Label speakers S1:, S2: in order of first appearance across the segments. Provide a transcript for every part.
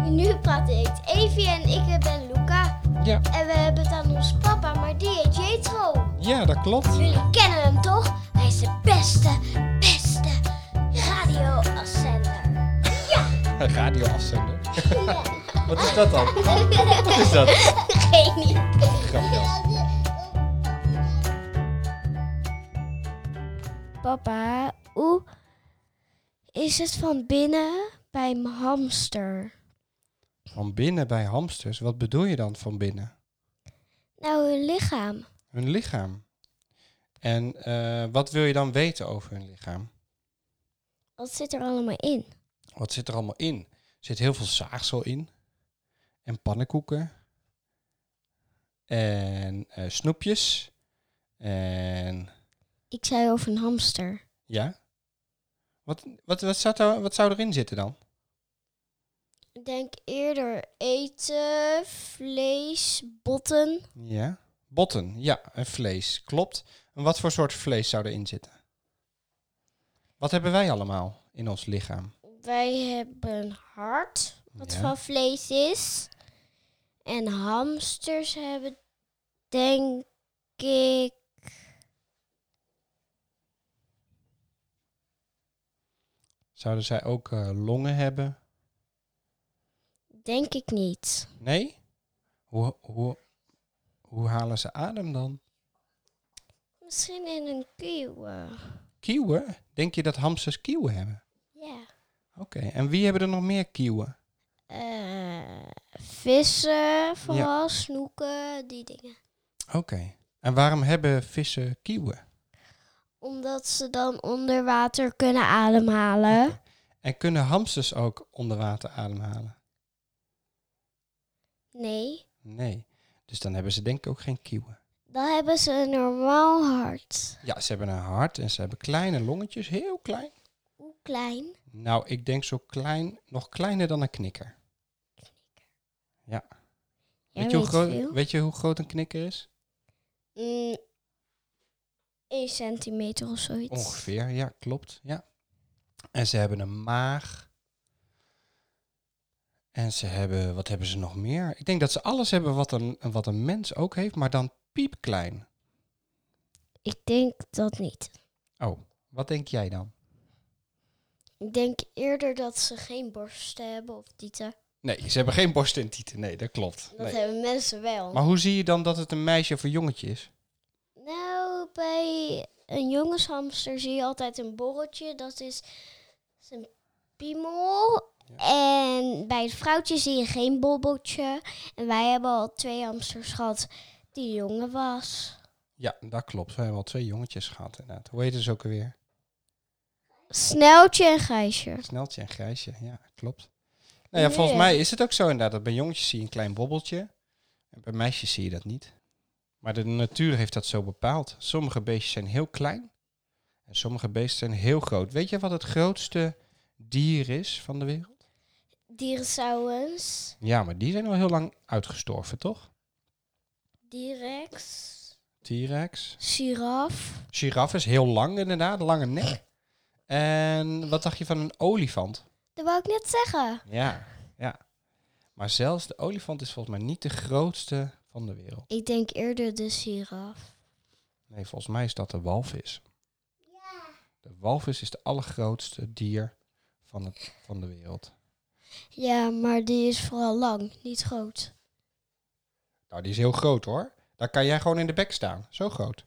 S1: nu praat ik. Evie en ik ben Luca.
S2: Ja,
S1: En we hebben het aan ons papa, maar die heet Jetro.
S2: ja, dat klopt.
S1: Jullie kennen hem toch? Hij is de beste, beste radioafzender.
S2: Radio afzenden.
S1: Ja.
S2: Wat is dat dan? Wat is dat?
S1: Geen idee.
S2: Grapjas.
S1: Papa, hoe is het van binnen bij mijn hamster?
S2: Van binnen bij hamsters, wat bedoel je dan van binnen?
S1: Nou, hun lichaam.
S2: Hun lichaam. En eh, wat wil je dan weten over hun lichaam?
S1: Wat zit er allemaal in?
S2: Wat zit er allemaal in? Er zit heel veel zaagsel in. En pannenkoeken. En eh, snoepjes. En
S1: Ik zei over een hamster.
S2: ja. Wat, wat, wat, zou er, wat zou erin zitten dan?
S1: Ik denk eerder eten, vlees, botten.
S2: Ja. Botten, ja. En vlees, klopt. En wat voor soort vlees zou erin zitten? Wat hebben wij allemaal in ons lichaam?
S1: Wij hebben een hart, wat
S2: Ja.
S1: van vlees is. En hamsters hebben, denk ik,
S2: Zouden zij ook eh, longen hebben?
S1: denk ik niet.
S2: Nee? Hoe, hoe, hoe halen ze adem dan?
S1: Misschien in een kieuw. eh.
S2: Kieuwen? Denk je dat hamsters kieuwen hebben?
S1: Ja.
S2: Oké, en wie hebben er nog meer kieuwen?
S1: Eh, vissen, vooral snoeken, die dingen.
S2: Oké. En waarom hebben vissen kieuwen?
S1: Omdat ze dan onder water kunnen ademhalen.
S2: En kunnen hamsters ook onder water ademhalen?
S1: Nee,
S2: Nee. Dus dan hebben ze denk ik ook geen kieuwen.
S1: dan hebben ze een normaal hart.
S2: Ja, ze hebben een hart en ze hebben kleine longetjes, heel klein.
S1: Hoe klein?
S2: Nou, ik denk zo klein, nog kleiner dan een knikker. Ja.
S1: Jij
S2: weet, je hoe
S1: weet
S2: groot,
S1: veel.
S2: weet je hoe groot een knikker is?
S1: Mm, 1 centimeter of zoiets.
S2: Ongeveer, ja, klopt. Ja. En ze hebben een maag. En ze hebben, wat hebben ze nog meer? Ik denk dat ze alles hebben wat een, wat een mens ook heeft, maar dan piepklein.
S1: Ik denk dat niet.
S2: Oh, wat denk jij dan?
S1: Ik denk eerder dat ze geen borsten hebben of tieten.
S2: Nee, ze hebben geen borst en tieten. Nee, dat klopt.
S1: Dat
S2: Nee.
S1: hebben mensen wel.
S2: Maar hoe zie je dan dat het een meisje of een jongetje is?
S1: Nou, bij een jongenshamster zie je altijd een borreltje. Dat is zijn piemel. En bij het vrouwtje zie je geen bobbeltje. En wij hebben al twee hamsters gehad die jongen was.
S2: Ja, dat klopt. We hebben al twee jongetjes gehad inderdaad. Hoe heet ze ook alweer?
S1: Sneltje en Gijsje.
S2: Sneltje en Grijsje, ja, klopt. Nou ja,
S1: Ja.
S2: volgens mij is het ook zo inderdaad. Dat bij jongetjes zie je een klein bobbeltje. En bij meisjes zie je dat niet. Maar de natuur heeft dat zo bepaald. Sommige beestjes zijn heel klein. En sommige beesten zijn heel groot. Weet je wat het grootste dier is van de wereld?
S1: Dinosaurus.
S2: Ja, maar die zijn al heel lang uitgestorven, toch?
S1: Direx.
S2: T-rex.
S1: Giraf.
S2: Giraf is heel lang inderdaad, een lange nek. En wat dacht je van een olifant?
S1: Dat wou ik net zeggen.
S2: Ja, ja. Maar zelfs de olifant is volgens mij niet de grootste van de wereld.
S1: Ik denk eerder de giraf.
S2: Nee, volgens mij is dat de walvis. De walvis is de allergrootste dier van, het, van de wereld.
S1: Ja, maar die is vooral lang, niet groot.
S2: Nou, die is heel groot hoor. Daar kan jij gewoon in de bek staan. Zo groot.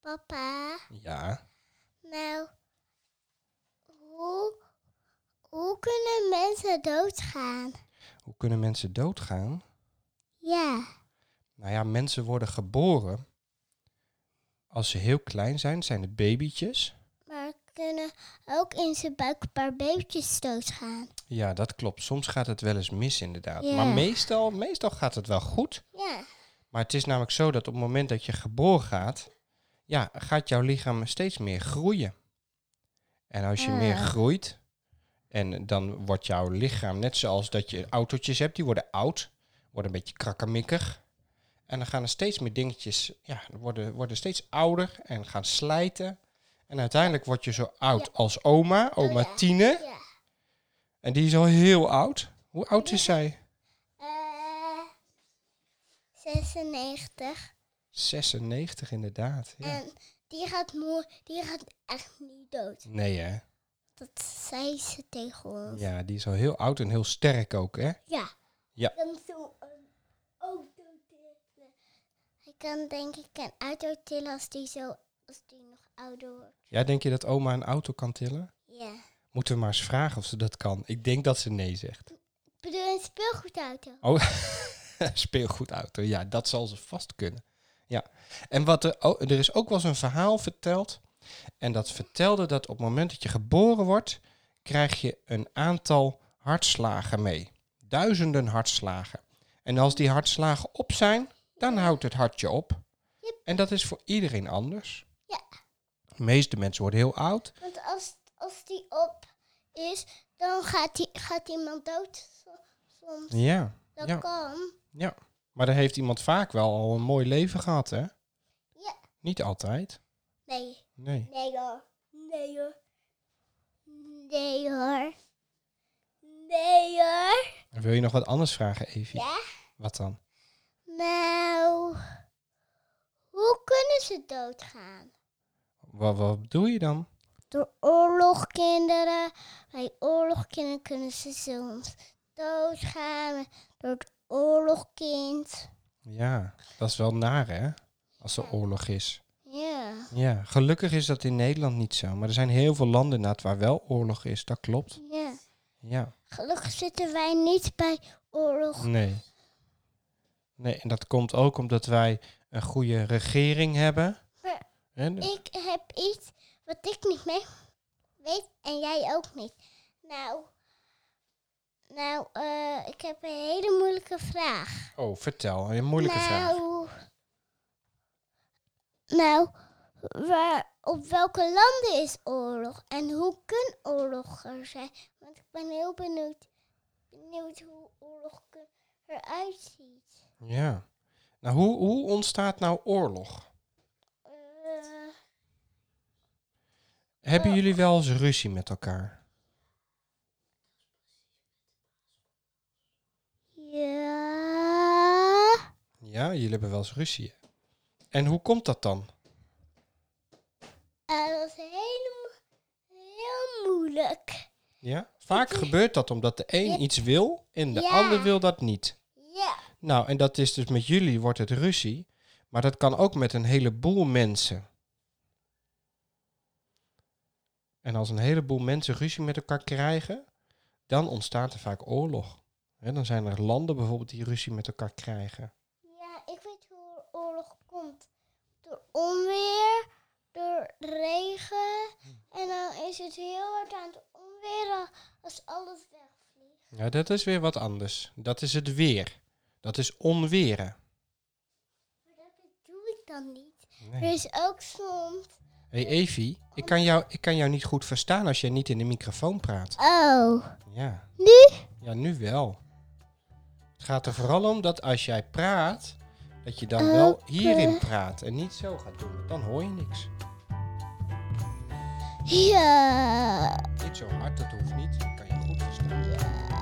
S1: Papa.
S2: Ja.
S1: Nou, hoe, hoe kunnen mensen doodgaan?
S2: Hoe kunnen mensen doodgaan?
S1: Ja.
S2: Nou ja, mensen worden geboren. Als ze heel klein zijn, zijn het babytjes.
S1: Maar kunnen ook in zijn buik een paar beetjes doodgaan?
S2: Ja, dat klopt. Soms gaat het wel eens mis inderdaad.
S1: Ja.
S2: Maar meestal, meestal gaat het wel goed.
S1: Ja.
S2: Maar het is namelijk zo dat op het moment dat je geboren gaat, ja, gaat jouw lichaam steeds meer groeien. En als je meer
S1: Ah.
S2: groeit, en dan wordt jouw lichaam, net zoals dat je autootjes hebt, die worden oud, worden een beetje krakkemikkig. En dan gaan er steeds meer dingetjes, ja, worden, worden steeds ouder en gaan slijten. En uiteindelijk word je zo oud als oma, oma
S1: Oh, ja.
S2: Tine.
S1: Ja.
S2: En die is al heel oud. Hoe oud is zij?
S1: Eh, 96.
S2: 96 inderdaad. Ja.
S1: En die gaat, moe, die gaat echt niet dood.
S2: Nee hè?
S1: Dat zei ze tegen ons.
S2: Ja, die is al heel oud en heel sterk ook hè?
S1: Ja.
S2: Ja.
S1: Hij kan zo een auto tillen. Hij kan denk ik een auto tillen als die, zo, als die nog ouder wordt.
S2: Ja, denk je dat oma een auto kan tillen?
S1: Ja.
S2: Moeten we maar eens vragen of ze dat kan. Ik denk dat ze nee zegt.
S1: Ik bedoel een speelgoedauto.
S2: Oh, speelgoedauto. Ja, dat zal ze vast kunnen. Ja. En wat er, o- er is ook wel eens een verhaal verteld. En dat vertelde dat op het moment dat je geboren wordt, krijg je een aantal hartslagen mee. Duizenden hartslagen. En als die hartslagen op zijn, dan houdt het hartje op. En dat is voor iedereen anders.
S1: Ja.
S2: De meeste mensen worden heel oud.
S1: Want als, als die op is, dan gaat, die, gaat iemand dood so- soms.
S2: Ja.
S1: Dat
S2: ja.
S1: kan.
S2: Ja, maar dan heeft iemand vaak wel al een mooi leven gehad, hè?
S1: Ja.
S2: Niet altijd.
S1: Nee.
S2: Nee.
S1: Nee hoor. Nee hoor. Nee hoor. Nee hoor.
S2: Wil je nog wat anders vragen, Evie?
S1: Ja?
S2: Wat dan?
S1: Nou, hoe kunnen ze doodgaan?
S2: Wat, wat bedoel je dan?
S1: Door oorlogkinderen. Bij oorlogkinderen kunnen ze soms doodgaan. Door het oorlogkind.
S2: Ja, dat is wel naar, hè? Als er oorlog is.
S1: Ja.
S2: Ja, gelukkig is dat in Nederland niet zo. Maar er zijn heel veel landen inderdaad waar wel oorlog is. Dat klopt.
S1: Ja.
S2: Ja.
S1: Gelukkig zitten wij niet bij oorlog.
S2: Nee. Nee, en dat komt ook omdat wij een goede regering hebben.
S1: Maar
S2: En,
S1: Ik heb iets wat ik niet mee weet en jij ook niet. Nou, nou eh, ik heb een hele moeilijke vraag.
S2: oh, vertel. Een moeilijke vraag.
S1: nou, nou waar, op welke landen is oorlog en hoe kan oorlog er zijn? Want ik ben heel benieuwd, benieuwd hoe oorlog er- eruit ziet.
S2: Ja. Nou, hoe, hoe ontstaat nou oorlog?
S1: Eh,
S2: Hebben
S1: Oh.
S2: jullie wel eens ruzie met elkaar?
S1: ja.
S2: Ja, jullie hebben wel eens ruzie. hè? En hoe komt dat dan?
S1: Eh, dat is helemaal heel moeilijk.
S2: Ja? Vaak gebeurt dat omdat de een iets wil en de
S1: Ja.
S2: ander wil dat niet.
S1: Ja,
S2: Nou, en dat is dus met jullie wordt het ruzie, maar dat kan ook met een heleboel mensen. En als een heleboel mensen ruzie met elkaar krijgen, dan ontstaat er vaak oorlog. Hè, dan zijn er landen bijvoorbeeld die ruzie met elkaar krijgen.
S1: ja, ik weet hoe er oorlog komt. Door onweer, door regen. En dan is het heel hard aan het onweren als alles wegvliegt.
S2: Ja, dat is weer wat anders. Dat is het weer. Dat is onweren.
S1: Maar dat doe ik dan niet.
S2: Nee.
S1: Er is ook soms...
S2: hey Evie, ik kan, jou, ik kan jou niet goed verstaan als jij niet in de microfoon praat.
S1: Oh,
S2: Ja,
S1: nu?
S2: ja nu wel. Het gaat er vooral om dat als jij praat, dat je dan wel hierin praat en niet zo gaat doen. want Dan hoor je niks.
S1: Ja.
S2: Niet zo hard, dat hoeft niet. Dat kan je goed verstaan.
S1: ja.